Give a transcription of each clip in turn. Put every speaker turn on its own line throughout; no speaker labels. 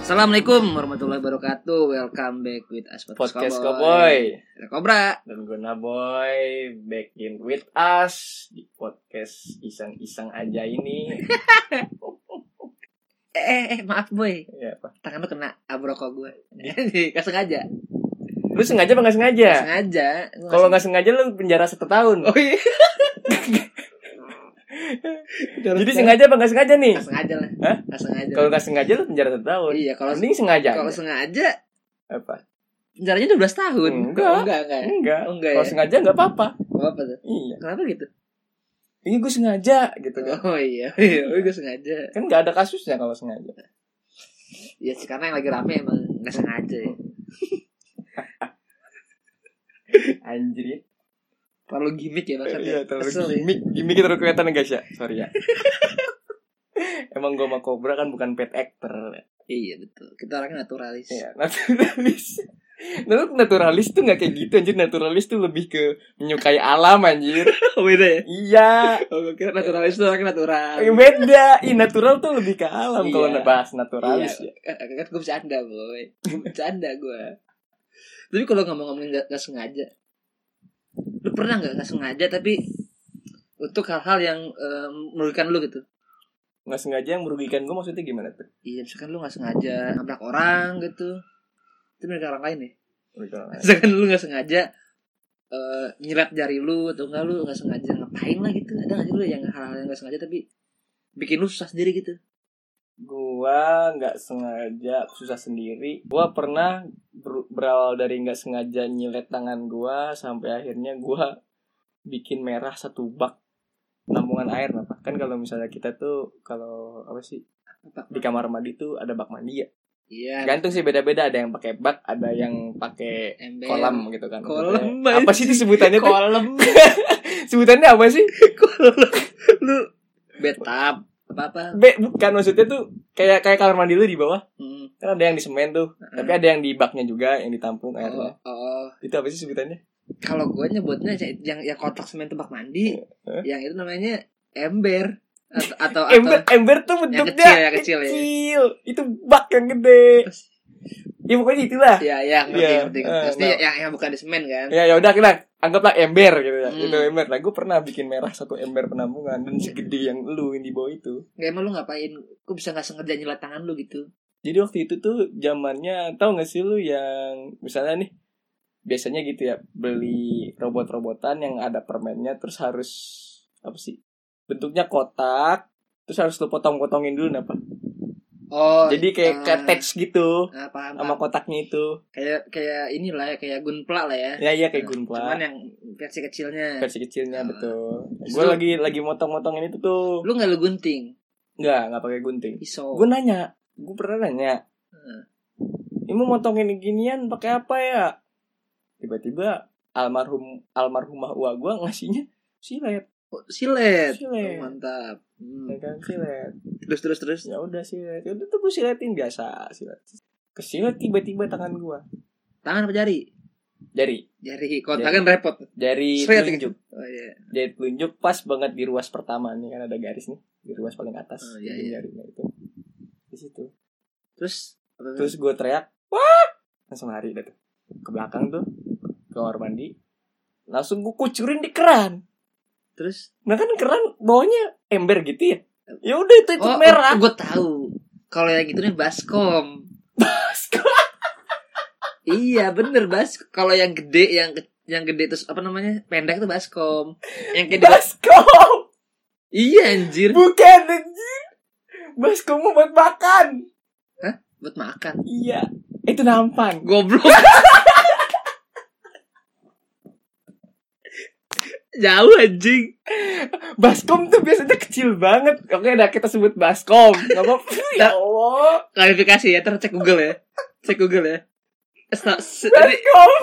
Assalamualaikum warahmatullahi wabarakatuh. Welcome back with us
Podcast Cowboy
Ada Kobra.
dan Guna Boy back in with us di podcast iseng-iseng aja ini.
Eh, eh, eh, maaf boy,
ya, apa?
tangan lu kena abroko gue.
Iya.
Gak sengaja.
Lu sengaja apa nggak sengaja?
Nggak sengaja. Gua
Iya. Kalau nggak sengaja lu penjara satu tahun.
Oh iya.
Jadi sengaja apa nggak sengaja nih?
Nggak sengaja lah.
Hah?
Nggak sengaja.
Kalau ya. nggak sengaja lu penjara satu tahun.
iya, kalau
Mending sengaja.
kalau sengaja
Apa?
penjaranya 12 tahun.
Enggak.
Oh, enggak, enggak.
Enggak.
Oh, enggak
Kalau
ya.
sengaja nggak apa-apa.
Nggak apa tuh?
Iya.
Kenapa gitu?
Ini gue sengaja gitu kan.
Oh iya, iya, oh, gue sengaja.
Kan nggak ada kasusnya kalau sengaja.
Ya sih, karena yang lagi rame emang nggak sengaja. Ya.
Hmm. Anjir.
Terlalu gimmick ya maksudnya.
Iya, terlalu
Kesel ya.
gimmick, gimmick terlalu kelihatan ya, guys ya. Sorry ya. Emang gue sama Cobra kan bukan pet actor.
Iya betul. Kita orangnya naturalis.
Iya, naturalis. Nah, naturalis tuh nggak kayak gitu anjir. Naturalis tuh lebih ke menyukai alam anjir.
Beda ya.
iya.
Oh, gue kira naturalis itu orangnya natural.
Eh, Beda. Ih, natural tuh lebih ke alam
Iya.
kalau bahas naturalis ya.
Iya, kan- kan gue bercanda boy Bercanda gue Tapi kalau ngomong-ngomongin gak, gak sengaja Lu pernah gak gak sengaja tapi Untuk hal-hal yang em, merugikan lu gitu
Nggak sengaja yang merugikan gue maksudnya gimana tuh?
Iya misalkan lu gak sengaja nabrak orang gitu Itu merugikan orang lain ya
Merugikan orang lain.
Misalkan lu gak sengaja eh nyirat jari lu atau enggak lu gak sengaja ngapain lah gitu ada gak sih lu yang hal-hal yang gak sengaja tapi bikin lu susah sendiri gitu
Gua nggak sengaja susah sendiri. Gua pernah ber- berawal dari nggak sengaja nyilet tangan gua sampai akhirnya gua bikin merah satu bak tampungan air apa kan kalau misalnya kita tuh kalau apa sih di kamar mandi tuh ada bak mandi ya
iya
gantung sih beda-beda ada yang pakai bak ada yang pakai
ember
kolam gitu kan
kolam
Maksudnya, apa sih itu sebutannya tuh
kolam
sebutannya apa sih
lu betap apa apa
Be, bukan maksudnya tuh kayak kayak kamar mandi lu di bawah
hmm.
kan ada yang di semen tuh tapi ada yang di baknya juga yang ditampung
oh,
airnya
oh.
itu apa sih sebutannya
kalau gue nyebutnya yang- yang yang kotak semen tempat mandi
Hah?
yang itu namanya ember atau atau, atau
ember ember tuh
yang
bentuknya
kecil yang kecil ya
kecil. itu bak yang gede ya pokoknya itulah
ya ya ngerti
Iya,
ngerti
eh,
Maksudnya
nah.
yang yang bukan di semen kan
ya ya udah kita anggaplah ember gitu ya
Hmm.
itu ember nah gue pernah bikin merah satu ember penampungan dan segede yang lu yang di bawah itu
nggak emang lu ngapain kok bisa nggak sengaja nyilat tangan lu gitu
Jadi waktu itu tuh zamannya tahu nggak sih lu yang misalnya nih biasanya gitu ya beli robot-robotan yang ada permennya terus harus apa sih bentuknya kotak terus harus lu potong-potongin dulu napa
oh
jadi kayak
eh,
attach gitu
ah, paham,
sama
paham.
kotaknya itu
kayak kayak inilah ya kayak gunpla lah ya
ya iya kayak
cuman
gunpla
yang versi kecilnya
versi kecilnya
Ah.
betul
Terus
gue
lu-
lagi lagi motong-motongin itu tuh
lu nggak lu gunting
nggak nggak pakai gunting
pisau
gue nanya gue pernah nanya
Hmm.
ini mau motongin ginian pakai apa ya tiba-tiba almarhum almarhumah uak gue ngasihnya silet
Oh, silet,
Silet.
Oh, mantap Hmm.
ya kan silet
terus terus terus
ya udah silet ya udah tuh gue siletin biasa silet kesilet tiba-tiba tangan gue
tangan apa jari
jari
jari kotak kan repot
jari
Silet
telunjuk
oh iya
jari telunjuk pas banget di ruas pertama nih kan ada garis nih di ruas paling atas
Oh, iya,
ujung
iya.
jarinya itu di situ
terus apa-
Terus gue teriak, wah, langsung lari dah tuh. Ke belakang tuh, ke kamar mandi. Langsung gue kucurin di keran.
terus
Nah kan keran bawahnya ember gitu ya. Ya udah itu ikut merah.
gue Oh, tahu kalau yang itu nih baskom iya bener bas kalau yang gede yang ke- yang gede terus apa namanya pendek tuh baskom yang kayak di-
Baskom,
iya anjir
bukan anjir. Baskom mau buat makan.
buat makan
Iya, itu nampan.
goblok jauh anjing
Baskom tuh biasanya kecil banget. Oke, dah kita sebut baskom. Gak apa Ya Allah.
klarifikasi ya terus cek Google ya cek Google ya Sta- se- ini-
Baskom.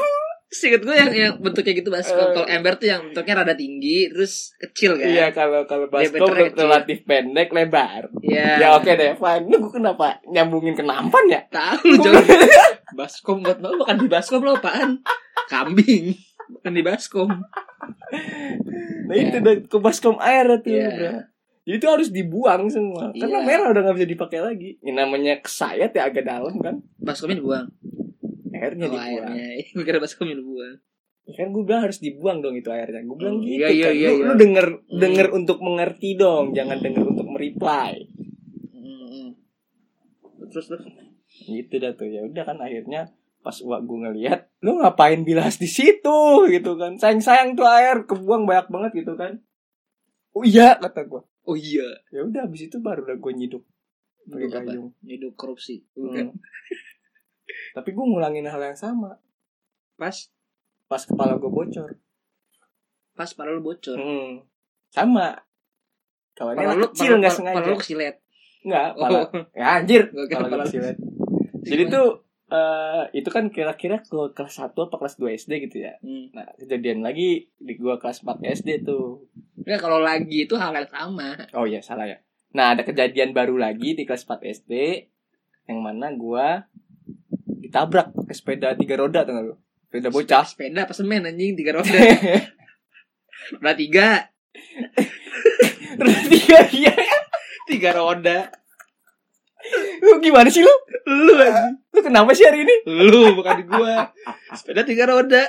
Singkat gue yang yang bentuknya gitu baskom.
Eh.
Kalau ember tuh yang bentuknya rada tinggi terus kecil kan.
Iya, kalau kalau baskom
Diameternya kecil.
relatif pendek, lebar.
Iya.
Ya oke deh, fine. Lu gue kenapa nyambungin ke nampan ya?
Tahu lu jauh. baskom buat lo makan di baskom lo apaan? Kambing. Makan di baskom.
Nah
Ya.
itu udah ke baskom air tuh.
Iya.
bro. Jadi itu harus dibuang semua. Karena
Iya.
merah udah nggak bisa dipakai lagi. Ini namanya kesayat ya agak dalam kan.
Baskomnya dibuang. Oh,
Airnya Iya, dibuang.
airnya. Gue kira baskomnya dibuang.
Ya kan gue bilang harus dibuang dong itu airnya. Gue bilang
Hmm,
gitu
iya, iya,
kan.
iya,
lu,
iya.
lu denger
Hmm.
denger untuk mengerti dong, jangan denger untuk mereply.
Mm-mm. Terus terus.
Gitu dah tuh. Ya udah kan akhirnya pas uak gue ngeliat lu ngapain bilas di situ gitu kan sayang sayang tuh air kebuang banyak banget gitu kan oh iya kata gue
Oh iya.
ya udah habis itu baru udah gue nyiduk
Nyiduk
pakai
apa?
gayung
Nyiduk korupsi.
Hmm. tapi gue ngulangin hal yang sama
Pas
pas kepala gue bocor
pas pala lu bocor.
Hmm. Sama. Kawannya
Pala
anak
lu
kecil
pala-
nggak
pala-
sengaja.
Pala lu kesilet.
Nggak,
Oh.
pala. Ya anjir.
Gua kira
Pala
pala
gua
lu-
silet. Jadi
Gimana?
tuh eh itu kan kira-kira ke kelas 1 apa kelas 2 SD gitu ya.
Hmm.
Nah, kejadian lagi di gua kelas 4 SD tuh.
Nggak, kalau lagi itu hal yang sama.
Oh iya, salah ya. Nah, ada kejadian baru lagi di kelas 4 SD yang mana gua ditabrak pakai sepeda tiga roda tuh nggak lu? Sepeda Ya, bocah.
Sepeda apa semen anjing tiga roda. Roda tiga,
Roda tiga iya.
tiga roda.
Lu gimana sih lu?
Lu anjing.
Lu kenapa sih hari ini?
Lu bukan gua. Sepeda tiga roda.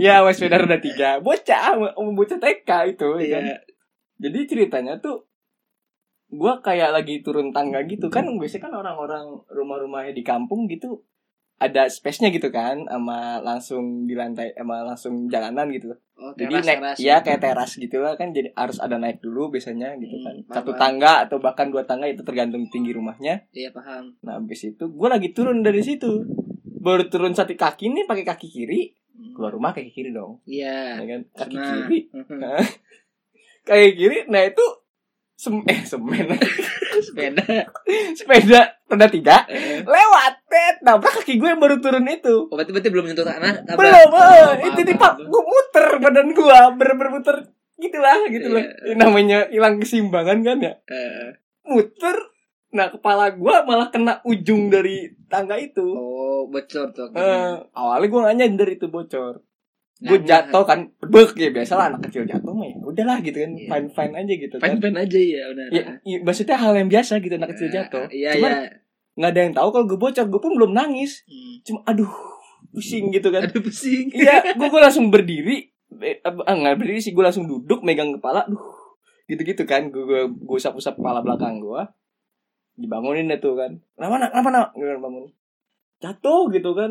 Ya, wes sepeda roda tiga. Bocah, um, bocah TK itu. ya kan?
Iya.
Jadi ceritanya tuh gua kayak lagi turun tangga gitu kan biasanya kan orang-orang rumah-rumahnya di kampung gitu ada space-nya gitu kan sama langsung di lantai sama langsung jalanan gitu
Oh,
jadi
teras,
naik
teras.
ya kayak teras gitu lah kan jadi harus ada naik dulu biasanya gitu
Hmm,
kan
paham,
satu
paham.
tangga atau bahkan dua tangga itu tergantung tinggi rumahnya
Iya, paham.
nah habis itu gua lagi turun dari situ baru turun satu kaki nih pakai kaki kiri
Hmm.
keluar rumah kaki kiri dong ya
Iya.
kan kaki
Nah.
kiri kaki kiri nah itu sem eh semen
Sepeda.
sepeda roda tiga
Eh.
lewat tet nabrak kaki gue yang baru turun itu
Oh, berarti, berarti belum nyentuh tanah. tabrak.
belum
Oh,
eh,
paham,
itu
paham.
dipak gue muter badan gue bener-bener muter gitulah gitu loh
Iya.
namanya hilang kesimbangan kan ya
Eh,
muter nah kepala gue malah kena ujung dari tangga itu
Oh, bocor tuh.
Eh, awalnya gue nggak nyadar itu bocor gue
Nah,
jatuh kan bek ya biasalah anak kecil jatuh mah ya udahlah gitu kan
Iya.
fine fine aja gitu kan
Pen-pen aja ya, benar.
Ya, i- maksudnya hal yang biasa gitu anak kecil
Eh,
jatuh.
Iya,
Cuman
iya.
nggak ada yang tahu kalau gue bocor, gue pun belum nangis.
Hmm.
Cuma aduh, pusing gitu kan.
Aduh pusing.
Iya, gue gue langsung berdiri. Eh, apa- ah, nggak berdiri sih, gue langsung duduk megang kepala. Duh, gitu-gitu kan. Gue gue gue usap-usap kepala belakang gue. Dibangunin deh tuh kan. Kenapa nak? Kenapa nak? Gue bangun. Jatuh gitu kan.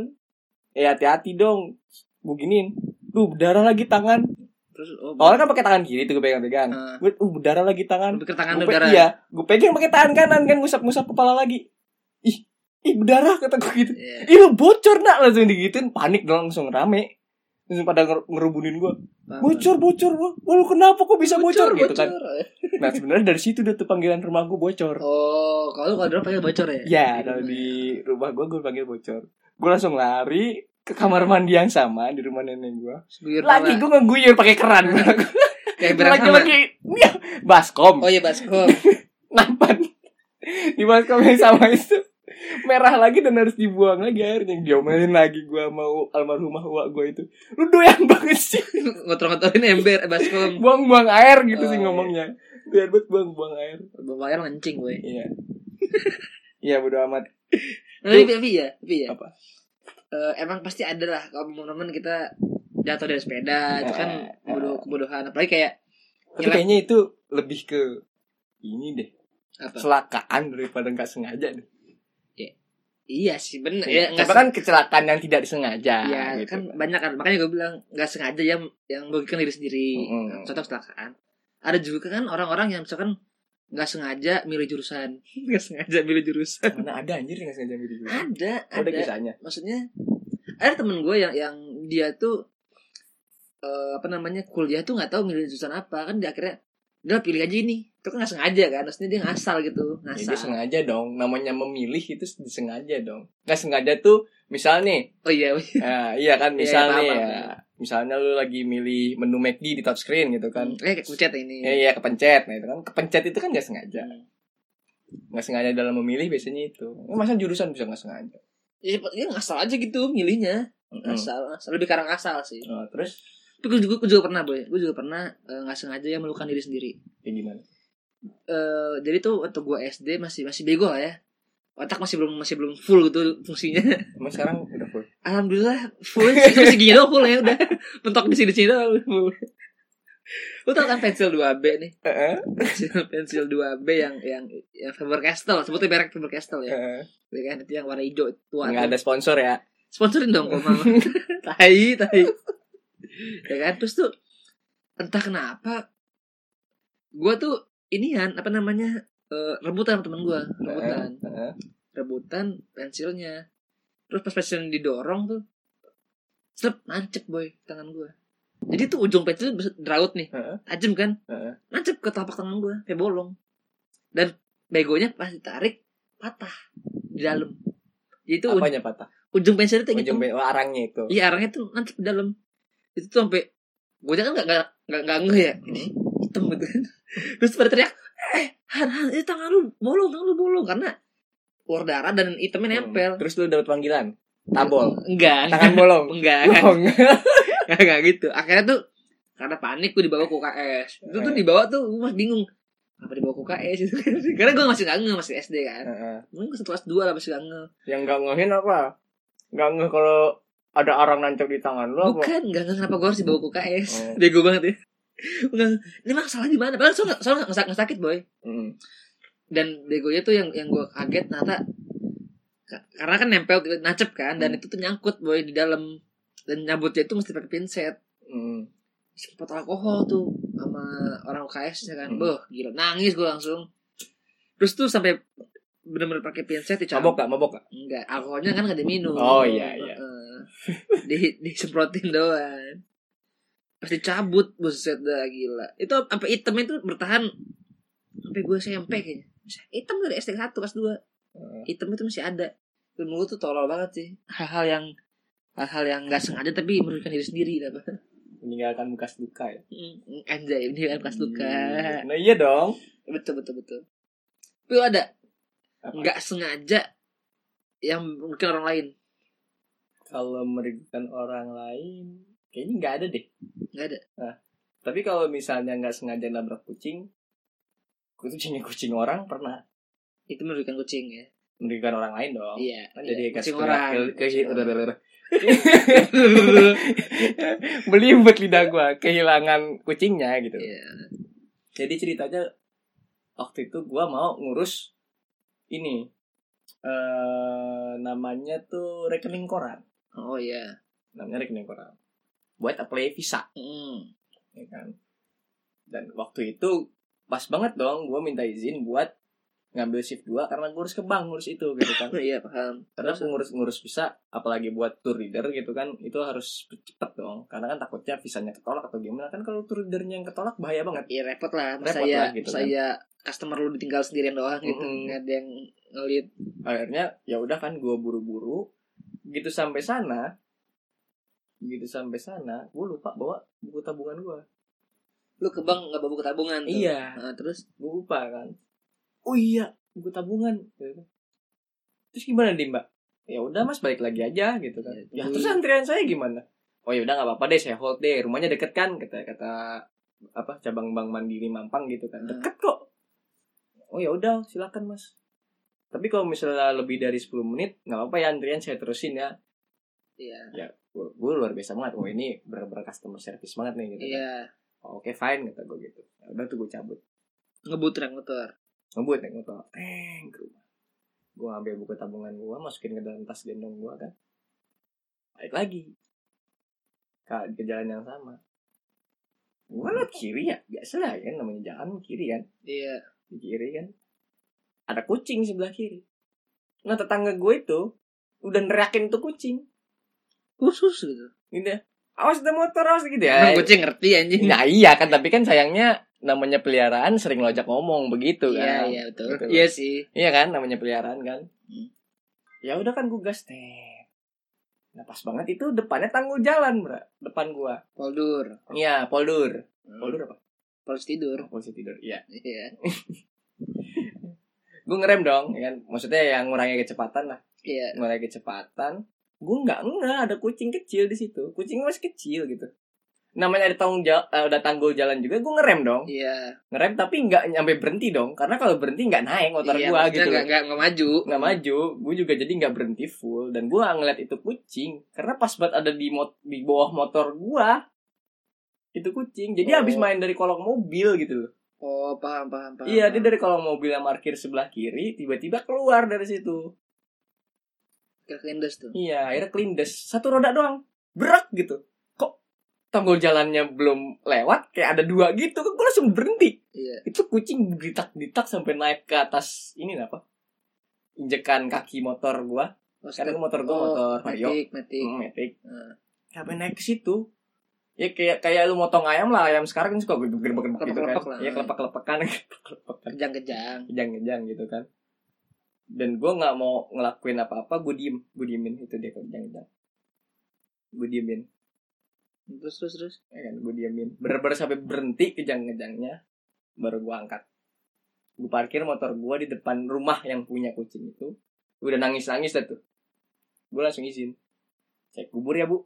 Eh hati-hati dong. Gue giniin. Duh, berdarah lagi tangan.
Terus oh,
Awalnya kan pakai tangan kiri tuh gue pegang-pegang.
eh,
Gue, uh, berdarah lagi tangan.
lebih ke tangan
Gua
lu
pe-
darah.
Iya, gue pegang pakai tangan kanan kan ngusap-ngusap kepala lagi. Ih, ih berdarah kata gue gitu.
Iya.
Ih lu bocor nak langsung digituin panik dong langsung rame. Langsung pada nger- ngerubunin gue.
Paham,
Bocor, bocor, wah wah, lu kenapa kok bisa
paham.
bocor, gitu kan?
bocor. eh.
Nah sebenarnya dari situ udah tuh panggilan rumah gue bocor.
Oh, kalau kalau dulu panggil bocor ya?
Ya, kalau di rumah gue gue panggil bocor. Gue langsung lari ke kamar mandi yang sama di rumah nenek gue.
Sebuyur pala.
Lagi gue ngeguyur pakai keran.
kayak berang sama.
Lagi-lagi, Iya, baskom.
Oh iya baskom.
nampan di baskom yang sama itu merah lagi dan harus dibuang lagi akhirnya diomelin lagi gua mau almarhumah uak gua itu lu doyan banget sih
Ngotor-ngotorin ember eh, baskom.
buang-buang air gitu
Oh,
sih
iya.
ngomongnya doyan banget buang-buang air
Bawa air mancing gue.
iya iya bodo amat
Tapi, tapi ya, tapi ya.
Iya. Apa?
Eh, emang pasti ada lah kalau teman-teman kita jatuh dari sepeda itu kan
Eh, eh.
kebodoh kebodohan apalagi kayak
tapi
Nyelak.
kayaknya itu lebih ke ini deh
apa?
kecelakaan daripada nggak sengaja deh
Iya sih bener ya
ya,
nggak
kan kecelakaan yang tidak disengaja
Iya
gitu.
kan banyak kan makanya gue bilang nggak sengaja yang yang merugikan diri sendiri
Mm-mm.
contoh kecelakaan ada juga kan orang-orang yang misalkan nggak sengaja milih jurusan nggak sengaja milih jurusan
mana ada anjir yang nggak sengaja milih dulu
ada
ada
ada
kisahnya
maksudnya ada temen gue yang yang dia tuh eh, apa namanya kuliah tuh nggak tahu milih jurusan apa kan dia akhirnya udah pilih aja ini itu kan nggak sengaja kan maksudnya dia ngasal gitu
Ya, dia
ngasal
sengaja dong, namanya memilih itu disengaja dong. Gak sengaja tuh, misal nih,
oh iya
eh, iya kan,
Iya,
misal
iya,
nih,
paham,
ya, misalnya lu lagi milih menu McD di top screen gitu
kan
kan,
kayak kucet ini
ya iya kepencet, nah itu kan, kepencet itu kan gak sengaja,
Hmm.
gak sengaja dalam memilih biasanya itu. Eh, Masa jurusan bisa gak sengaja?
ya, dia ngasal aja gitu milihnya
Mm-mm.
ngasal, ngasal. lebih karang asal sih
Oh, terus,
tapi gue juga, gue juga pernah boy gue juga pernah eh, nggak sengaja yang melukan ya diri sendiri
ya gimana?
eh, jadi tuh waktu gue SD masih masih bego lah ya otak masih belum masih belum full gitu fungsinya
Emang sekarang udah full.
alhamdulillah full sih segini doang full ya udah mentok di sini sini doang full lu tau kan pensil 2B nih
Heeh.
pensil pensil 2B yang yang, yang Faber Castell sebutnya merek Faber Castell ya
heeh.
Ya kan itu yang warna hijau tua
Nggak ada sponsor ya.
sponsorin dong kalau mau tai tai ya kan terus tuh entah kenapa gue tuh inian apa namanya eh, rebutan sama temen gue rebutan
Heeh.
rebutan pensilnya terus pas pensilnya didorong tuh sep nancep boy tangan gue jadi tuh ujung pensil bisa deraut nih
Heeh.
tajam kan
Heeh.
nancep ke telapak tangan gue kayak bolong dan begonya pas ditarik patah di dalam jadi tuh
Apanya patah?
ujung pensil itu
Ujung be- oh, arangnya itu.
kan? Iya arangnya tuh nanti ke dalam itu tuh sampai gue kan nggak nggak nggak nggak ngeh ya ini hitam gitu kan terus pada teriak eh han han ini tangan lu bolong tangan lu bolong karena keluar darah dan hitamnya
Hmm.
nempel
Terus lu dapat panggilan. Tabol.
enggak
Tangan bolong.
enggak enggak,
Bohong.
enggak enggak gitu akhirnya tuh karena panik gue dibawa ke UKS itu tuh
Eh.
dibawa tuh gue masih bingung apa dibawa ke UKS itu kan karena gue masih nggak ngeh masih SD kan
Heeh.
mungkin kelas kelas dua lah masih nggak ngeh
Yang nggak ngehin apa? Nggak ngeh kalau ada arang nancap di tangan lu apa?
Bukan, gak, ngerti kenapa gue harus dibawa ke UKS
Oh.
Bego banget ya Enggak, ini emang salah di mana? Padahal soalnya soalnya nggak sakit, sakit boy.
Heeh.
Dan begonya tuh yang yang gue kaget ternyata ka- karena kan nempel gitu, nancep kan dan
Hmm.
itu tuh nyangkut boy di dalam dan nyabutnya itu mesti pakai pinset.
Heeh.
Semprot alkohol tuh sama orang UKS ya kan.
Hmm.
Beuh, gila nangis gue langsung. Terus tuh sampai bener-bener pakai pinset dicampur.
Mabok gak? Mabok gak?
Enggak, alkoholnya kan gak diminum.
Oh, iya, iya.
Heeh. Di disemprotin doang. Pasti cabut, buset dah gila. Itu sampai hitam itu bertahan sampai gue SMP kayaknya. Hitam dari SD 1 kelas 2. Hitam itu masih ada. Dan mulut tuh tolol banget sih. Hal-hal yang hal-hal yang nggak sengaja tapi merugikan diri sendiri lah. Pak.
Meninggalkan bekas luka ya.
Mm, Anjay, ini kan kelas luka.
Hmm. Nah iya dong.
Betul betul betul. Tapi lu ada
Apa?
nggak sengaja yang mungkin orang lain
Kalau merugikan orang lain, kayaknya nggak ada deh.
nggak ada.
Tapi kalau misalnya nggak sengaja nabrak kucing, kucingnya kucing orang pernah
itu merugikan kucing ya
merugikan orang lain dong.
iya
Kan jadi
kucing
kasih
orang
Ke, Belibet lidah gua kehilangan kucingnya gitu.
Iya.
Jadi ceritanya waktu itu gua mau ngurus ini eh namanya tuh rekening koran,
oh iya
namanya rekening koran. Buat apply visa.
Mm.
ya kan dan waktu itu pas banget dong gue minta izin buat ngambil shift 2 karena ngurus ke bank ngurus itu gitu kan
Oh, iya paham
karena pengurus ngurus visa apalagi buat tour leader gitu kan itu harus cepet dong karena kan takutnya visanya ketolak atau gimana kan kalau tour leadernya yang ketolak bahaya banget
iya repot lah
Repot
saya
lah gitu kan.
saya customer lu ditinggal sendirian doang gitu
Mm-mm.
nggak ada yang ngelit
akhirnya ya udah kan gue buru-buru gitu sampai sana gitu sampai sana gue lupa bawa buku tabungan gue
lu ke bank nggak bawa buku tabungan tuh.
iya
Nah, terus
gue lupa kan oh iya buku tabungan gitu. terus gimana nih mbak ya udah mas balik lagi aja gitu kan ya terus antrian saya gimana oh ya udah nggak apa-apa deh saya hold deh rumahnya deket kan kata kata apa cabang bank mandiri mampang gitu kan
Hmm.
deket kok oh ya udah silakan mas tapi kalau misalnya lebih dari 10 menit nggak apa-apa ya antrian saya terusin ya
iya
gue luar biasa banget oh ini bener-bener customer service banget nih gitu kan.
iya
Oh, oke fine kata gue gitu ya udah tuh gue cabut
ngebut yang motor
ngebut naik motor teng ke rumah gue ambil buku tabungan gue masukin ke dalam tas gendong gue kan balik lagi ke, ke jalan yang sama gue liat kiri ya biasa lah kan namanya jalan kiri kan
iya
di kiri kan ada kucing sebelah kiri nah tetangga gue itu udah neriakin tuh kucing
khusus gitu
gitu ya awas ada motor awas gitu ya
emang kucing ngerti anjing
nah iya kan tapi kan sayangnya namanya peliharaan sering lojak ngomong begitu kan
iya iya betul
Gitu.
iya sih
Iya kan namanya peliharaan kan.
Hmm.
Ya udah kan gue gas teh. Nah pas banget itu depannya tanggul jalan, Bra. Depan gua.
poldur
Iya, poldur.
poldur
Poldur apa?
tidur
Oh, polisi tidur. Iya.
iya
Gue ngerem dong, ya kan. Maksudnya yang ngurangi kecepatan lah.
iya
Ngurangi kecepatan. Gue nggak nggak ada kucing kecil di situ. Kucing masih kecil gitu. namanya ada tanggung jawab eh, udah tanggul jalan juga gue ngerem dong
Iya.
ngerem tapi nggak nyampe berhenti dong karena kalau berhenti nggak naik motor
Iya,
gua
maksudnya
gitu
nggak
loh
nggak nggak maju.
nggak maju gue juga jadi nggak berhenti full dan gua ngeliat itu kucing karena pas banget ada di mot di bawah motor gua itu kucing jadi
Oh.
habis main dari kolong mobil gitu loh
Oh paham paham paham.
iya dia dari kolong mobil yang parkir sebelah kiri tiba-tiba keluar dari situ
Kira kelindes tuh.
iya akhirnya kelindes satu roda doang berak gitu kok tanggul jalannya belum lewat kayak ada dua gitu kan gue langsung berhenti
Iya.
itu kucing ditak-ditak sampai naik ke atas ini apa injekan kaki motor gua
Oh,
karena
step-
motor gua
oh,
motor vario
Matic, matic.
Hmm, matic
Hmm.
sampai naik ke situ ya kayak kayak lu motong ayam lah ayam sekarang kan suka gitu gitu kan
Kelepek-kelepek lah.
ya kelepak kelepakan kelepakan
Kejang-kejang.
kejang kejang gitu kan dan gua nggak mau ngelakuin apa apa gue diem gue diemin itu dia kejang kejang gue diemin
Terus terus terus.
ya kan gue diamin bener-bener sampai berhenti kejang-kejangnya baru gue angkat gue parkir motor gue di depan rumah yang punya kucing itu Gua udah nangis-nangis dah tuh gue langsung izin cek kubur ya bu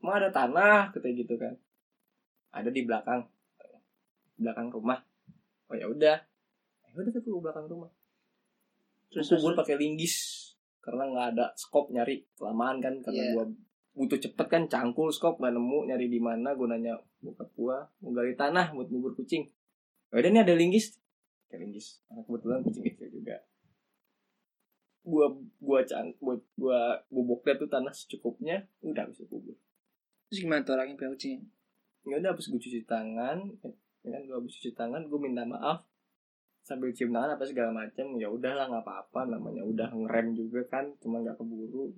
emang ada tanah kata gitu kan ada di belakang belakang rumah oh ya udah ya udah tuh ke belakang rumah
Terus,
terus
terus,
kubur pakai linggis karena nggak ada scope nyari kelamaan kan
Iya.
karena gua butuh cepet kan cangkul scope nggak nemu nyari di mana gunanya buka gua mau gali tanah buat ngubur kucing ya udah nih ada linggis Pakai linggis karena kebetulan kucing kecil juga gua gua cang gua gua bobok tuh tanah secukupnya udah bisa kubur
Terus gimana tuh orangnya punya kucing?
ya udah habis gue cuci tangan ya kan gue habis cuci tangan gue minta maaf sambil cium tangan apa segala macam ya udahlah nggak apa-apa namanya udah ngerem juga kan cuma nggak keburu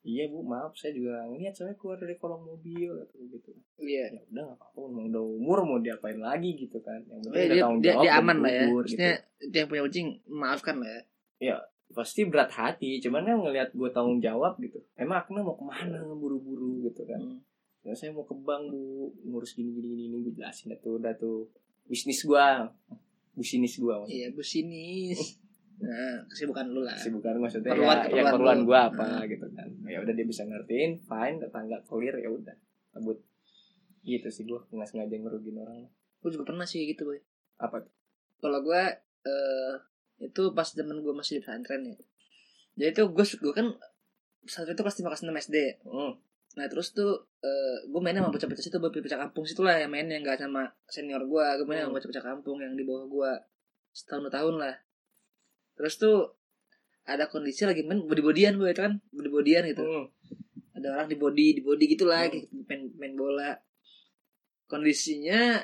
iya bu maaf saya juga nggak ngeliat soalnya keluar dari kolong mobil atau gitu
Iya.
ya udah nggak apa-apa emang udah umur mau diapain lagi gitu kan yang penting
Eh,
ada
dia,
tanggung
dia,
jawab
dia
dan
aman lah ya.
gugur, gitu.
Maksudnya dia yang punya kucing maafkan lah ya.
pasti berat hati cuman kan ngelihat gue tanggung jawab gitu emang aku mau kemana buru-buru gitu kan
Hmm.
ya saya mau ke bank bu ngurus gini gini gini, gini gue jelasin dah tuh dah tuh bisnis gua bisnis gua maksudnya
Iya, businis. Nah, kesibukan lu lah.
bukan maksudnya
Keperluan-
ya, ya
keperluan
keperluan
lu.
gua apa
Hmm.
gitu kan ya udah dia bisa ngertiin fine tetangga clear ya udah kabut gitu sih gua nggak sengaja ngerugin orang
Gue juga pernah sih gitu, Boy.
apa tuh?
Kalau gue eh itu pas zaman gue masih di pesantren ya. Jadi tuh gue gue kan pesantren itu kelas 5 kelas 6 SD.
Hmm.
Nah, terus tuh eh gue mainnya sama bocah-bocah situ, Boy. bocah kampung situ lah yang main yang gak sama senior gue. Gue main
Hmm.
sama bocah-bocah kampung yang di bawah gue setahun dua tahun lah. Terus tuh ada kondisi lagi main body-bodyan gue kan body-bodyan gitu
Hmm.
ada orang di body di body gitulah
Hmm.
kayak main main bola kondisinya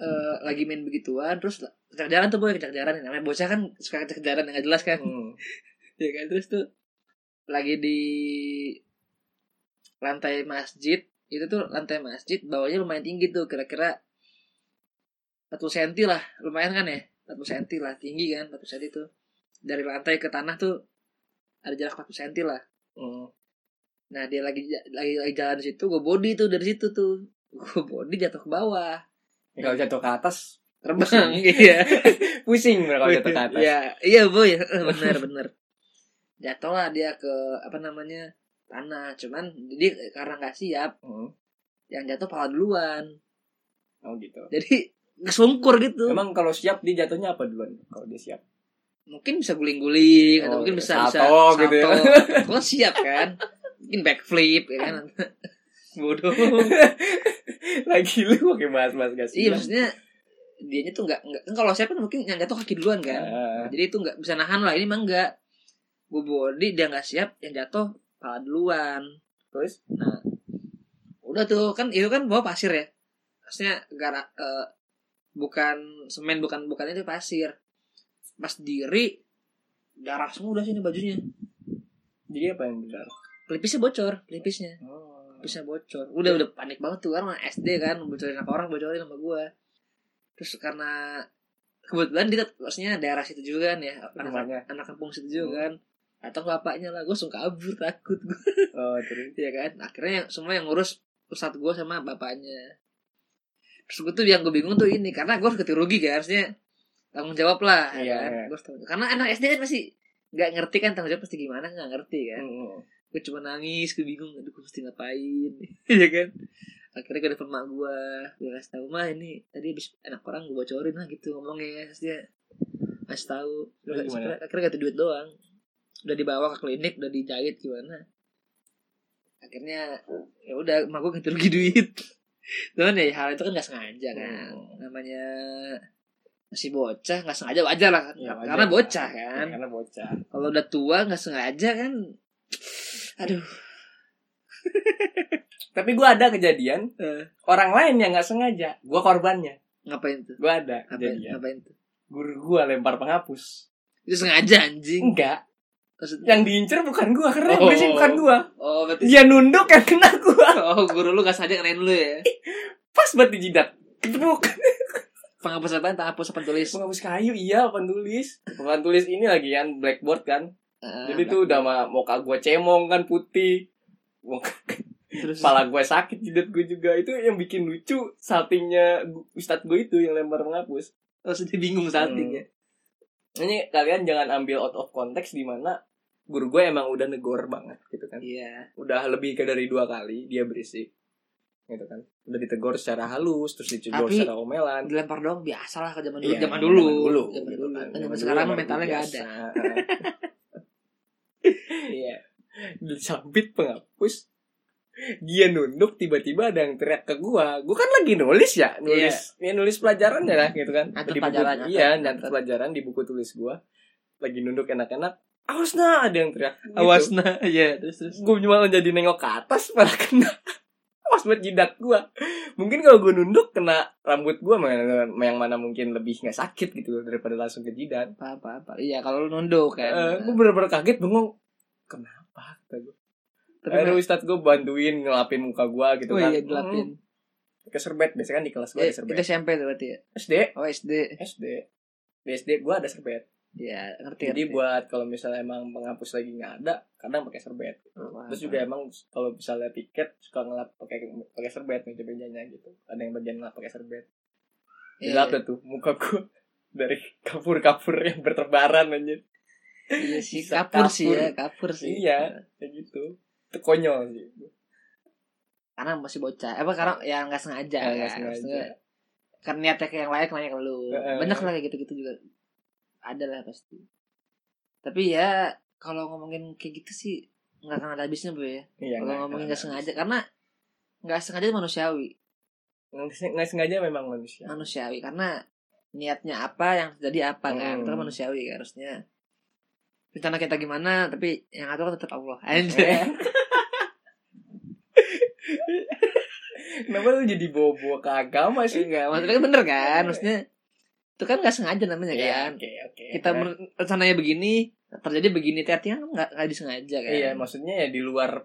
eh, lagi main begituan terus kejar-kejaran tuh boy kejar-kejaran namanya bocah kan suka kejar-kejaran yang gak jelas kan
Hmm.
ya kan terus tuh lagi di lantai masjid itu tuh lantai masjid bawahnya lumayan tinggi tuh kira-kira 40 cm lah lumayan kan ya 40 cm lah tinggi kan 40 cm tuh dari lantai ke tanah tuh ada jarak 40 cm lah
Hmm.
Nah dia lagi lagi, lagi jalan di situ, gue body tuh dari situ tuh, gue body jatuh ke bawah,
Ya, kalau jatuh ke atas
terbang, iya,
pusing kalau jatuh ke atas
iya, iya boy, bener bener, jatuh lah dia ke apa namanya tanah, cuman dia karena nggak siap,
Hmm.
yang jatuh pala duluan,
oh gitu
jadi kesungkur gitu,
emang kalau siap dia jatuhnya apa duluan kalau dia siap
mungkin bisa guling-guling atau
Oh,
mungkin bisa
salto
bisa
gitu ya.
salto. Kalau siap kan, mungkin backflip ya kan, bodoh.
lagi lu pakai bahas-bahas
Iya
gak siap.
maksudnya dianya tuh nggak nggak kan kalau saya kan mungkin yang jatuh kaki duluan kan.
Ah.
Jadi itu nggak bisa nahan lah ini mah nggak. Gue body dia nggak siap yang jatuh kepala duluan.
terus
Udah tuh kan itu kan bawa pasir ya. Maksudnya gara eh, bukan semen bukan bukan itu pasir. Pas diri darah semua udah sini bajunya.
jadi apa yang benar
Pelipisnya bocor, pelipisnya.
oh.
bisa bocor udah udah panik banget tuh karena SD kan bocorin sama orang bocorin sama gue terus karena kebetulan dia maksudnya daerah situ juga kan ya anak,
Rumahnya.
anak kampung situ juga kan atau bapaknya lah gue langsung kabur takut gue
oh terus
ya kan akhirnya yang- semua yang ngurus pusat gue sama bapaknya terus gue tuh yang gue bingung tuh ini karena gue harus ganti rugi kan maksudnya tanggung jawab lah ya
Iya,
kan
iya.
Gua harus tanggung- karena anak SD kan masih nggak ngerti kan tanggung jawab pasti gimana nggak ngerti kan
Hmm.
gue cuma nangis gue bingung aduh gue mesti ngapain ya kan akhirnya ke depan mak gue gue kasih tahu mah ini tadi habis anak orang gue bocorin lah gitu ngomongnya terus dia kasih tahu
Lu
Terus akhirnya,
gimana?
akhirnya ganti duit doang udah dibawa ke klinik udah dijahit gimana akhirnya ya udah mak gue ganti rugi duit cuman ya hal itu kan gak sengaja kan
Hmm.
namanya masih bocah nggak sengaja wajar lah
Ya, wajar.
karena bocah kan
Ya, karena bocah
kalau udah tua nggak sengaja kan aduh
tapi gue ada kejadian
eh,
orang lain yang nggak sengaja gue korbannya
ngapain tuh
gue ada
ngapain
kejadian
ngapain tuh
guru gue lempar penghapus
itu sengaja anjing
enggak
maksudnya
yang diincer bukan gue karena yang
Hmm. Oh.
berisik bukan gue
oh berarti
dia nunduk yang kena gue
oh guru lu gak sengaja ngenain lu ya
pas buat di jidat Ketemuk.
penghapus apaan tak hapus apa tulis
penghapus kayu iya papan tulis papan tulis ini lagi kan blackboard kan
Ah,
jadi tuh udah ma- muka gue cemong kan putih muka
terus
kepala gue sakit jidat gue juga itu yang bikin lucu saltingnya gu- ustadz gue itu yang lempar menghapus
terus dia bingung
Hmm.
salting ya
ini kalian jangan ambil out of context di mana guru gue emang udah negor banget gitu kan
iya
udah lebih ke dari dua kali dia berisik gitu kan udah ditegor secara halus terus ditegur
Tapi-
secara omelan
dilempar dong biasa lah ke zaman dulu
Iya,
zaman dulu
zaman dulu,
zaman
gitu
dulu
kan.
Kan
Zaman
zaman
dulu
sekarang
emang
mentalnya nggak
biasa.
ada
Iya. Disambit penghapus. Dia nunduk tiba-tiba ada yang teriak ke gua. Gua kan lagi nulis ya, nulis ya nulis pelajaran ya lah, gitu kan.
Nyatet Iya.
buku-
Hmm. pelajaran,
iya,
nyatet,
nyatet
nyatet.
pelajaran di buku tulis gua. Lagi nunduk enak-enak. Awas nah ada yang teriak. Gitu.
nah iya terus terus
Gua cuma jadi nengok ke atas malah kena. Awas buat jidat gua. Mungkin kalau gua nunduk kena rambut gua mana- yang mana mungkin lebih nggak sakit gitu daripada langsung ke jidat.
apa apa, apa. iya kalau lu nunduk kan
Eh, gue bener-bener kaget bengong kenapa kata gue
tapi
akhirnya ustadz gue bantuin ngelapin muka gue gitu
oh
kan
iya dilapin
Hmm, keserbet biasanya kan di kelas gue
eh,
ada serbet
itu SMP tuh berarti ya
SD
oh SD
SD di SD gue ada serbet
ya ngerti
jadi
ngerti.
buat kalau misalnya emang penghapus lagi nggak ada kadang pakai serbet
Apa,
terus
apa.
juga emang kalau misalnya piket suka ngelap pakai pakai serbet meja mejanya gitu ada yang bagian ngelap pakai serbet
Iya,
dilap dah tuh muka gue dari kapur-kapur yang berterbaran aja
iya sih
Bisa
kapur sih
kapur.
ya kapur sih
iya kayak gitu itu konyol sih Iya,
karena masih bocah apa karena ya nggak sengaja
Nggak
ya
sengaja.
Maksudnya, karena niatnya kayak yang lain nanya ke lu
Heeh.
banyak lah kayak gitu gitu juga ada lah pasti tapi ya kalau ngomongin kayak gitu sih nggak akan ada habisnya bu ya
Iya,
kalau
nggak-
ngomongin nggak
nggak-
sengaja karena nggak sengaja itu manusiawi
nggak seng- nggak sengaja memang manusia
manusiawi karena niatnya apa yang terjadi apa kan
Hmm.
itu kan manusiawi kan, harusnya rencana kita gimana tapi yang atur kan tetap Allah
Eh.
anjir
Kenapa lu jadi bawa-bawa ke agama sih?
enggak maksudnya kan bener kan maksudnya itu kan nggak sengaja namanya
Iya,
kan
oke, oke.
kita mer- rencananya begini terjadi begini tapi kan nggak nggak disengaja kan
Iya, maksudnya ya di luar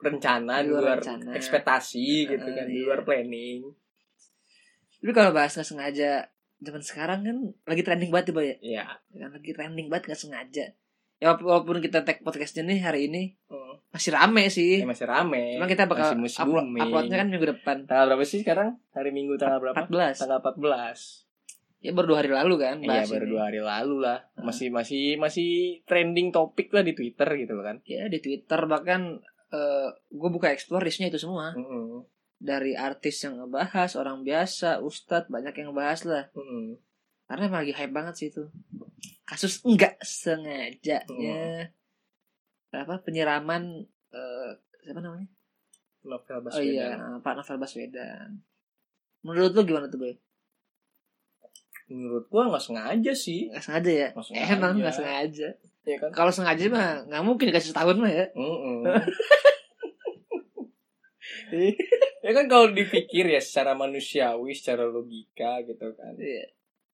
rencana,
Di
di
luar
luar,
rencana.
ekspektasi gitu
Heeh,
kan, di
iya.
luar planning.
tapi kalau bahas nggak sengaja zaman sekarang kan lagi trending banget tiba ya
Iya.
kan lagi trending banget nggak sengaja ya wala- walaupun kita tag podcastnya nih hari ini
Heeh.
masih rame
Ya,
sih
masih
Iya.
rame.
cuma kita bakal
masih musim
upload,
booming.
uploadnya kan minggu depan
tanggal berapa sih sekarang? Hari Minggu tanggal berapa?
14
Tanggal 14.
ya baru dua hari lalu kan
Iya,
bahas
baru
ini.
dua hari lalu lah.
Heeh.
Masih masih masih trending topik lah di Twitter gitu loh kan.
ya di twitter bahkan gue buka explore isinya itu semua
Heeh.
dari artis yang ngebahas orang biasa ustadz banyak yang ngebahas lah
Heeh.
karena emang lagi hype banget sih itu kasus enggak sengaja
Oh.
ya apa penyiraman eh, siapa namanya
Novel
oh iya
Baswedan.
eh, Pak Novel Baswedan menurut lu gimana tuh boy
Menurut gua nggak sengaja sih.
nggak sengaja ya
Nggak sengaja.
emang nggak sengaja
Iya kan?
kalau sengaja mah nggak mungkin kasih setahun mah ya
Mm-mm. ya kan kalau dipikir ya secara manusiawi, secara logika gitu kan.
Iya.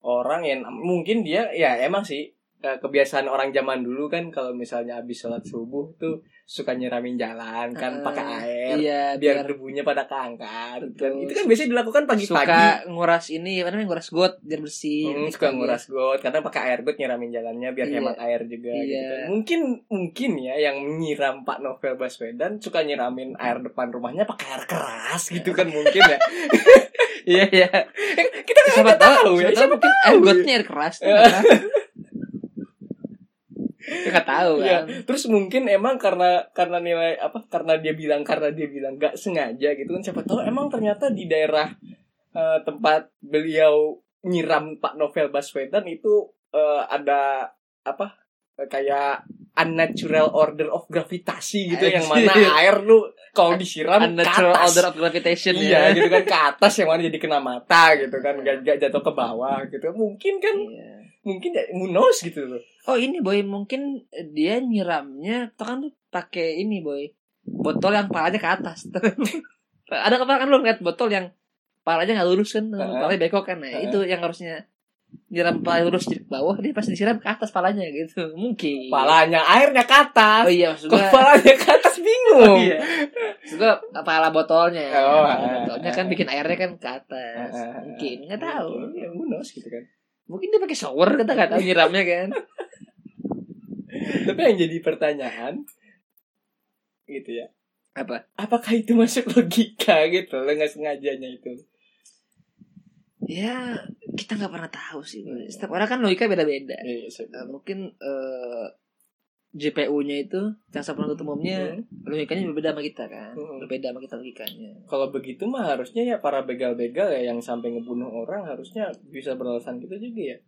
Orang yang mungkin dia ya emang sih eh, kebiasaan orang zaman dulu kan kalau misalnya habis sholat subuh tuh suka nyiramin jalan kan
Eh,
pakai air
iya biar,
biar, debunya pada keangkat gitu kan.
Betul.
itu kan biasanya dilakukan pagi-pagi
suka nguras ini apa namanya nguras got biar bersih
Hmm,
Gitu
suka
kan,
nguras got karena pakai air got nyiramin jalannya biar
Iya.
hemat air juga
Iya.
gitu kan. Mungkin mungkin ya yang nyiram Pak Novel Baswedan suka nyiramin air depan rumahnya pakai air keras gitu kan mungkin
ya.
ya.
iya iya
Kita kan
siapa
nggak
tahu Eh,
ya.
siapa tahu mungkin air gotnya air keras tuh,
Iya.
kan? nggak tahu
Iya.
kan
Terus mungkin emang karena karena nilai apa karena dia bilang karena dia bilang nggak sengaja gitu kan siapa tahu emang ternyata di daerah eh, tempat beliau nyiram Pak Novel Baswedan itu eh, ada apa eh, kayak unnatural order of gravitasi gitu yang mana
Anjir.
air lu kalau disiram
unnatural
Kan ke atas.
Kan order of gravitation
Iya
ya
gitu kan ke atas yang mana jadi kena mata gitu kan gak, gak jatuh ke bawah gitu mungkin kan
Iya.
mungkin ya who knows gitu loh
oh ini boy mungkin dia nyiramnya tuh kan tuh pakai ini boy botol yang palanya ke atas ada kemarin kan lu ngeliat botol yang palanya nggak lurus kan
Heeh.
palanya bekok kan nah
Heeh.
itu yang harusnya nyiram palanya lurus di bawah dia pasti disiram ke atas palanya gitu mungkin
palanya airnya ke
oh
atas
iya maksud
Kok
gua-
palanya ke atas
Oh,
bingung.
iya. Maksud gua pala botolnya.
Oh,
Pala
ah,
botolnya
ah,
kan
ah.
bikin airnya kan ke
Ah,
atas.
ah, ah.
Mungkin nggak tahu.
Mungkin, Ya, who knows gitu kan.
Mungkin dia pakai shower kita nggak tahu nyiramnya kan.
Tapi yang jadi pertanyaan gitu ya.
Apa?
Apakah itu masuk logika gitu loh nggak sengajanya itu?
Ya kita nggak pernah tahu sih. Boy. Setiap orang kan logika beda-beda.
Iya, so-
Eh, mungkin eh JPU-nya itu jaksa penuntut umumnya logikanya berbeda sama kita kan.
Hmm.
Berbeda sama kita logikanya.
Kalau begitu mah harusnya ya para begal-begal ya yang sampai ngebunuh orang harusnya bisa beralasan gitu juga ya.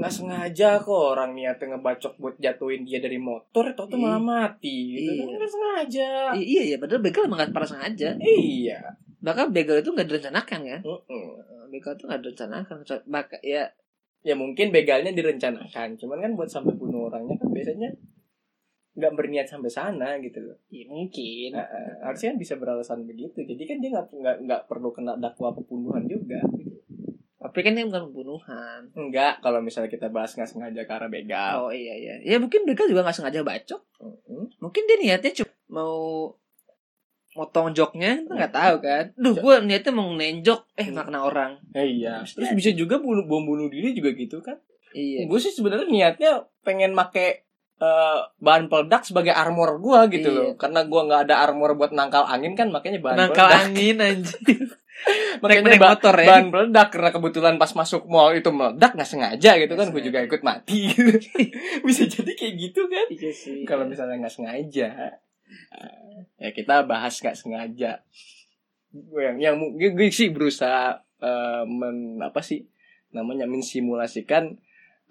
Nggak sengaja kok orang niatnya ngebacok buat jatuhin dia dari motor atau tuh
Iya.
malah mati gitu.
Iya.
Kan nggak sengaja.
I- iya ya, padahal begal emang nggak pernah sengaja.
Iya.
Bahkan begal itu nggak direncanakan kan.
Mm-mm.
Eh, Begal itu nggak direncanakan. Maka ya
ya mungkin begalnya direncanakan cuman kan buat sampai bunuh orangnya kan biasanya nggak berniat sampai sana gitu loh
ya mungkin.
Nah, eh, harusnya kan bisa beralasan begitu jadi kan dia nggak nggak nggak perlu kena dakwa pembunuhan juga gitu.
Tapi kan ini bukan pembunuhan.
enggak kalau misalnya kita bahas nggak sengaja ke arah
Oh
begal
iya iya. Ya mungkin mereka juga nggak sengaja bacok.
Mm-mm.
Mungkin dia niatnya cuma mau motong joknya kita nggak tahu kan. Duh, gue niatnya mau nenjok eh nggak kena orang.
Eh, iya terus bisa juga bunuh bom bunuh diri juga gitu kan
Iya.
gue sih sebenarnya niatnya pengen make eh, bahan peledak sebagai armor gua gitu
Iya.
loh karena gua nggak ada armor buat nangkal angin kan makanya bahan
Nangkal
peledak
angin anjir.
makanya
Naik-naik
ba-
motor ya.
bahan meledak karena kebetulan pas masuk mall itu meledak nggak sengaja gitu kan gue juga ikut mati bisa jadi kayak gitu kan
Iya sih.
kalau misalnya nggak sengaja eh, ya kita bahas nggak sengaja Gua yang yang mu- gue, gue sih berusaha eh, men apa sih namanya mensimulasikan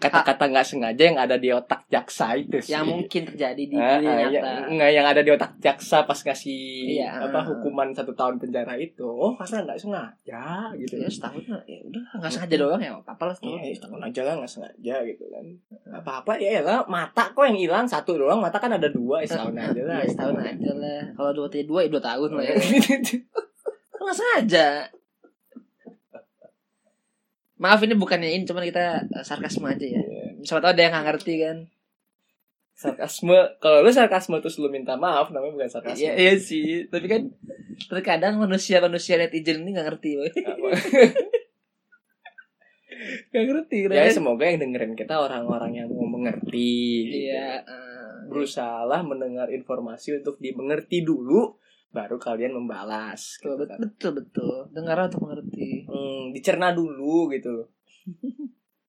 kata-kata nggak sengaja yang ada di otak jaksa itu sih
yang mungkin gitu terjadi di
Ah, ah,
dunia
yang,
nyata.
nggak, yang ada di otak jaksa pas ngasih
Iya.
apa hukuman satu tahun penjara itu oh karena nggak sengaja gitu
Ya setahun lah. ya udah nggak sengaja doang ya nggak apa-apa lah setahun.
Iya, ya, setahun aja lah nggak sengaja gitu kan. Apa-apa ya lah mata kok yang hilang satu doang, mata kan ada dua, ya, setahun aja lah. gitu. Iya,
Iya, setahun aja lah. Kalau dua tiga dua ya dua tahun lah ya. Nggak sengaja. Maaf ini bukannya ini cuman kita eh, sarkasme aja ya.
Iya.
Siapa tahu ada yang nggak ngerti kan.
sarkasme, kalau lu sarkasme terus lu minta maaf namanya bukan
Iya,
sarkasme.
iya sih, tapi kan terkadang manusia-manusia netizen ini nggak ngerti, boy. Nggak ngerti,
ya
ternyata.
semoga yang dengerin kita orang-orang yang mau mengerti. gitu.
Iya, eh,
Berusahalah mendengar informasi untuk dimengerti dulu, baru kalian membalas.
betul,
gitu
bet-
kan.
betul, betul. Dengar untuk mengerti.
Hmm, dicerna dulu gitu loh.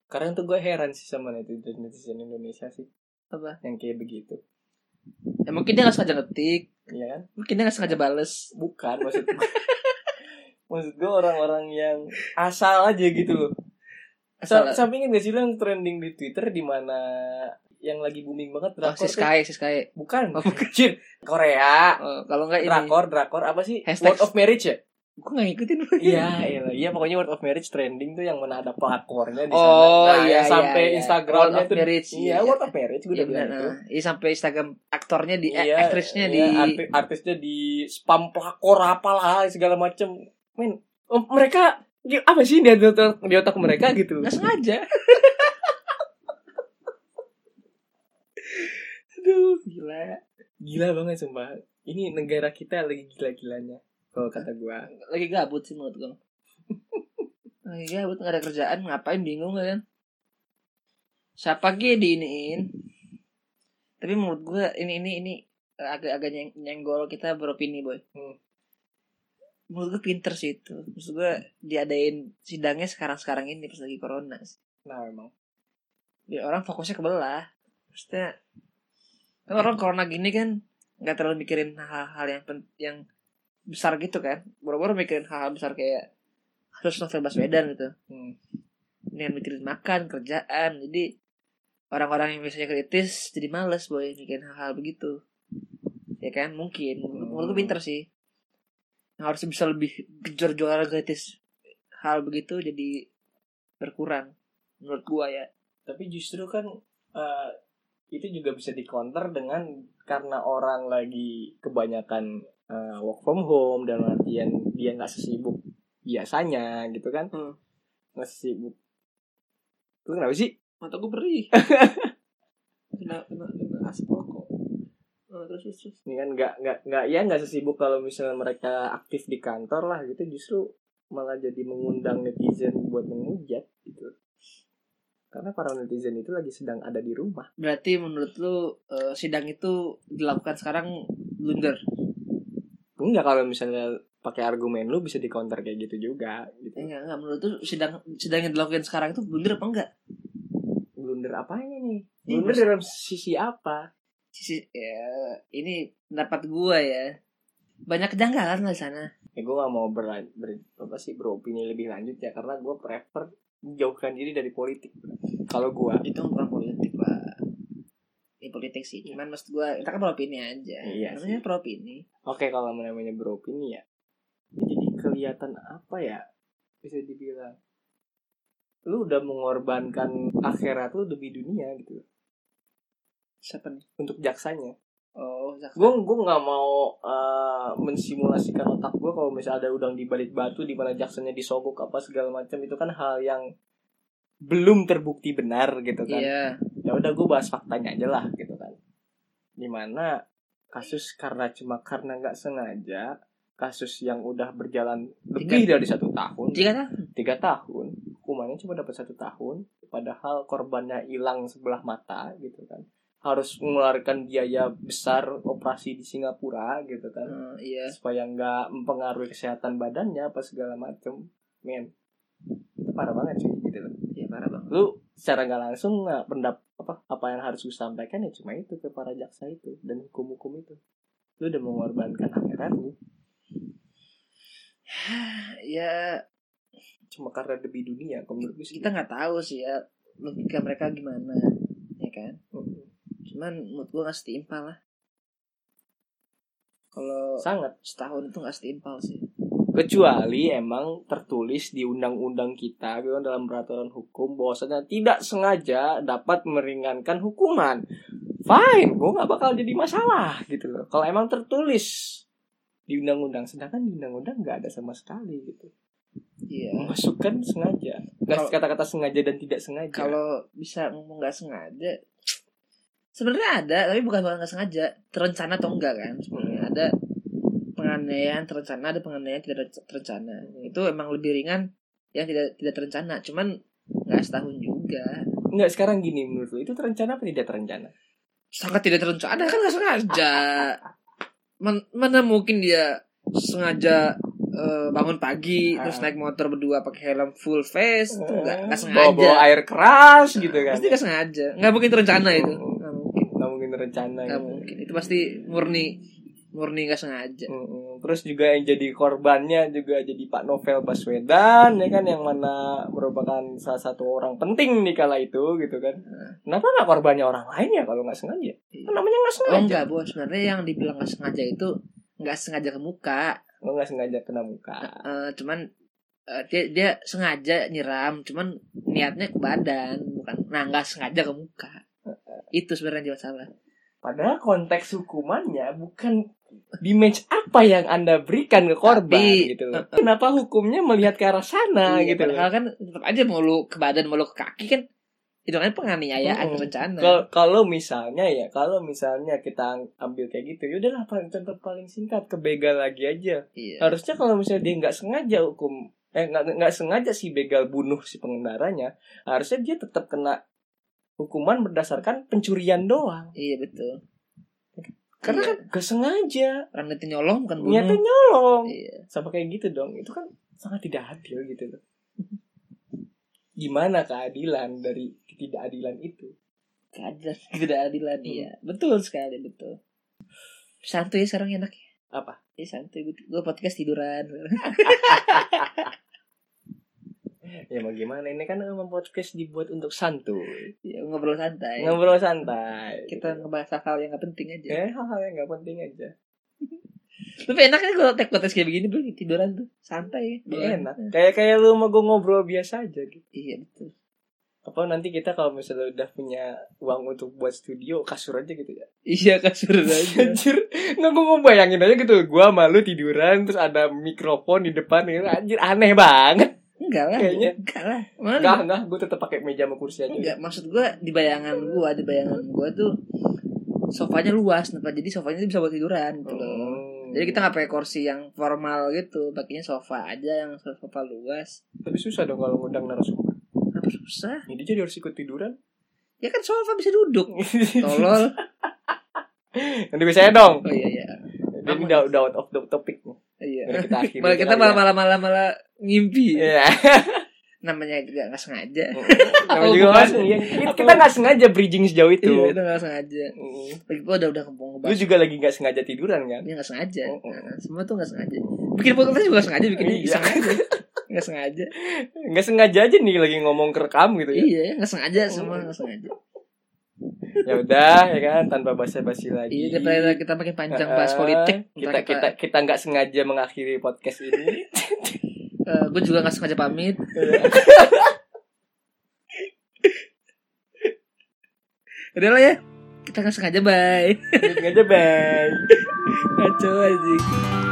Karena tuh gue heran sih sama netizen netizen Indonesia sih
Apa?
yang kayak begitu.
Ya, mungkin dia nggak sengaja ngetik,
Iya kan?
mungkin dia nggak sengaja bales.
Bukan maksud gue. maksud gue orang-orang yang asal aja gitu loh.
Asal,
Sa- Sampai ingat gak sih lo yang trending di Twitter di mana yang lagi booming
oh,
banget drakor
si
tuh?
Sky, si Sky.
Bukan.
Oh, bukan.
Jir, Korea.
Oh, kalau nggak ini,
Drakor, drakor apa sih?
Hashtag-
Word of marriage ya?
gue nggak ngikutin. boy.
Iya, iya, iya pokoknya word of marriage trending tuh yang mana ada pelakornya di sana.
Oh,
Nah,
iya,
yang sampai
iya, iya.
Instagramnya
Word of
tuh
marriage,
Iya,
iya.
word of marriage gue
Iya
udah bilang
benar.
itu.
nah. Iya sampai Instagram aktornya di eh,
Iya,
aktrisnya
iya,
di
arti- artisnya di spam pelakor apalah segala macem men em, mereka di- apa sih dia di otak, di otak mereka gitu
nggak sengaja.
aduh gila gila banget sumpah ini negara kita lagi gila-gilanya kalau kata gua
Lagi gabut sih menurut gue. Lagi gabut nggak ada kerjaan ngapain bingung kan? Siapa ge diiniin? Tapi menurut gue ini ini ini eh, agak-agak nyeng- nyenggol kita beropini boy.
Hmm.
Menurut gue pinter sih itu. Maksud gue diadain sidangnya sekarang-sekarang ini pas lagi corona. sih.
nah emang
Ya, Biar orang fokusnya kebelah. Maksudnya kan orang corona gini kan nggak terlalu mikirin hal-hal yang pen- yang besar gitu kan boro-boro mikirin hal-hal besar kayak harus novel Baswedan gitu
Hmm.
dengan mikirin makan kerjaan jadi orang-orang yang biasanya kritis jadi males boy mikirin hal-hal begitu ya kan mungkin menurut menurut gue pinter sih Yang harus bisa lebih gejor-joran kritis hal begitu jadi berkurang menurut gua ya
tapi justru kan eh, itu juga bisa dikonter dengan karena orang lagi kebanyakan eh, work from home dan artian dia nggak sesibuk biasanya gitu kan
Hmm.
nggak sesibuk lu kenapa sih
mata gue perih kena kena kena asap rokok oh, terus terus terus.
ini kan nggak nggak nggak ya nggak sesibuk kalau misalnya mereka aktif di kantor lah gitu justru malah jadi mengundang netizen buat menghujat gitu karena para netizen itu lagi sedang ada di rumah
berarti menurut lu eh, sidang itu dilakukan sekarang blunder
enggak kalau misalnya pakai argumen lu bisa di counter kayak gitu juga gitu
enggak enggak menurut lu sidang sidang yang dilakukan sekarang itu blunder apa enggak
blunder apanya nih
Iya,
blunder
maksud-
dalam sisi apa
sisi ya ini pendapat gua ya banyak kejanggalan lah di sana
ya gue gak mau ber, ber- apa sih beropini lebih lanjut ya karena gue prefer jauhkan diri dari politik kalau gue
itu bukan politik pak ini politik sih cuman maksud gua kita kan beropini aja
Iya
namanya
sih.
beropini
Oke kalau namanya beropini ya Jadi kelihatan apa ya Bisa dibilang Lu udah mengorbankan akhirat lu demi dunia gitu
siapa nih
Untuk jaksanya
oh Zak-
Gue gua gak mau eh, mensimulasikan otak gue Kalau misalnya ada udang di balik batu di mana jaksanya disogok apa segala macam Itu kan hal yang belum terbukti benar gitu kan
iya
ya udah gue bahas faktanya aja lah gitu kan dimana kasus karena cuma karena nggak sengaja kasus yang udah berjalan lebih dari satu tahun
jika tak
tiga tahun hukumannya cuma dapat satu tahun padahal korbannya hilang sebelah mata gitu kan harus mengeluarkan biaya besar operasi di Singapura gitu kan
Eh, iya
supaya nggak mempengaruhi kesehatan badannya apa segala macem men itu parah banget sih gitu loh
iya parah banget
lu secara nggak langsung nggak pendap apa apa yang harus lu sampaikan ya cuma itu ke para jaksa itu dan hukum-hukum itu lu udah mengorbankan akhirat lu
ya
cuma karena demi dunia kalau menurut gue sih
kita nggak tahu sih ya logika mereka gimana ya kan
Mm.
cuman menurut gua nggak setimpal lah kalau
sangat
setahun itu nggak setimpal sih
kecuali emang tertulis di undang-undang kita gitu kan, dalam peraturan hukum bahwasanya tidak sengaja dapat meringankan hukuman fine gue nggak bakal jadi masalah gitu loh kalau emang tertulis di undang-undang sedangkan di undang-undang nggak ada sama sekali gitu
iya
memasukkan sengaja Nggak
Kalau-
kata-kata sengaja dan tidak sengaja
kalau bisa ngomong nggak sengaja sebenarnya ada tapi bukan bukan nggak sengaja terencana atau enggak kan sebenarnya
Hmm.
ada penganiayaan terencana ada penganiayaan tidak ter- terencana itu emang lebih ringan yang tidak tidak terencana cuman nggak setahun juga
nggak sekarang gini menurut lu itu terencana apa tidak terencana
sangat tidak terencana kan nggak sengaja Men- mana mungkin dia sengaja eh, bangun pagi
Ah.
terus naik motor berdua pakai helm full face itu nggak nggak sengaja
bawa bawa air keras Iya. gitu kan
pasti nggak sengaja nggak mungkin terencana itu
Mm.
nggak mungkin
nggak mungkin terencana
Gak
gitu.
mungkin itu pasti murni murni nggak sengaja
Mm-mm. terus juga yang jadi korbannya juga jadi Pak Novel Baswedan ya kan yang mana merupakan salah satu orang penting di kala itu gitu kan kenapa nggak korbannya orang lain ya kalau nggak sengaja Kan namanya nggak
oh
sengaja
enggak bos sebenarnya yang dibilang nggak sengaja itu nggak sengaja ke muka
lo nggak sengaja kena muka
Eh, cuman eh, dia dia sengaja nyiram cuman niatnya ke badan bukan nah nggak sengaja ke muka itu sebenarnya yang jadi masalah
Padahal konteks hukumannya bukan di match apa yang Anda berikan ke korban
Tapi-
gitu loh. Kenapa hukumnya melihat ke arah sana
Iya,
gitu
padahal
loh.
kan tetap aja mau lu ke badan mau lu ke kaki kan itu kan penganiayaan
Mm-mm.
rencana
Kal- Hmm. Kalau misalnya ya, kalau misalnya kita ang- ambil kayak gitu, yaudahlah paling contoh paling singkat ke begal lagi aja.
iya.
Harusnya kalau misalnya dia nggak sengaja hukum eh nggak nggak sengaja si begal bunuh si pengendaranya, harusnya dia tetap kena hukuman berdasarkan pencurian doang.
iya betul
Karena
Iya.
kan nggak sengaja,
orang niatnya nyolong bukan bunuh
niatnya nyolong.
iya.
sama kayak gitu dong itu kan sangat tidak adil gitu loh gimana keadilan dari ketidakadilan itu
keadilan ketidakadilan
Hmm.
iya betul sekali betul santuy sekarang enak ya
Apa?
Iya santuy gue podcast tiduran
Ya mau gimana? Ini kan emang podcast dibuat untuk santuy,
ya, ngobrol santai
ngobrol santai.
kita ngebahas hal yang gak penting aja
eh hal-hal yang nggak penting aja.
tapi enaknya kalau tag podcast kayak begini beli tiduran tuh santai
Ya, enak. Kayak kayak lu mau gue ngobrol biasa aja gitu.
iya betul
Apa nanti kita kalau misalnya udah punya uang untuk buat studio kasur aja gitu ya.
iya kasur aja
Anjir, nggak gue mau bayangin aja gitu. Gua malu tiduran terus ada mikrofon di depan gitu. Anjir aneh banget.
enggak lah
Kayaknya.
enggak lah
Enggak,
mana
enggak, gue tetap pakai meja sama kursi aja.
enggak maksud gue di bayangan gue di bayangan gue tuh sofanya luas tempat jadi sofanya tuh bisa buat tiduran gitu loh
Hmm.
Jadi kita nggak pakai kursi yang formal gitu, pakainya sofa aja yang sofa luas.
tapi susah dong kalau ngundang narasumber.
Kenapa susah?
Ini dia harus ikut tiduran.
Ya kan sofa bisa duduk. Tolol.
Nanti biasanya dong.
Oh iya iya.
Ini udah udah out of the topic nih.
Iya.
Biar kita akhiri
Malah kita
kali
malah
ya.
malah malah malah ngimpi.
Iya.
Namanya juga nggak sengaja.
Namanya
Oh, Bukan.
juga nggak sengaja. Kita- Kita nggak sengaja bridging sejauh itu.
Iya, itu nggak sengaja.
Mm.
Lagi pula udah udah ngomong
Gitu. Lu
ngebahas.
juga lagi nggak sengaja tiduran kan?
Ini nggak sengaja.
Oh, oh.
Nah, semua tuh nggak sengaja. Bikin podcast juga nggak sengaja, bikin ini
Iya.
sengaja. Nggak sengaja.
Nggak sengaja aja nih lagi ngomong kerekam gitu ya.
Iya, nggak sengaja semua nggak sengaja.
Ya udah ya kan tanpa basa-basi lagi.
Iya, daripada kita makin panjang bahas
Eh,
politik.
Kita
ntar
kita kita nggak sengaja mengakhiri podcast ini.
Eh, gue juga nggak sengaja pamit. Udah lah ya. Kita nggak sengaja bye.
Nggak sengaja bye.
Kacau anjing.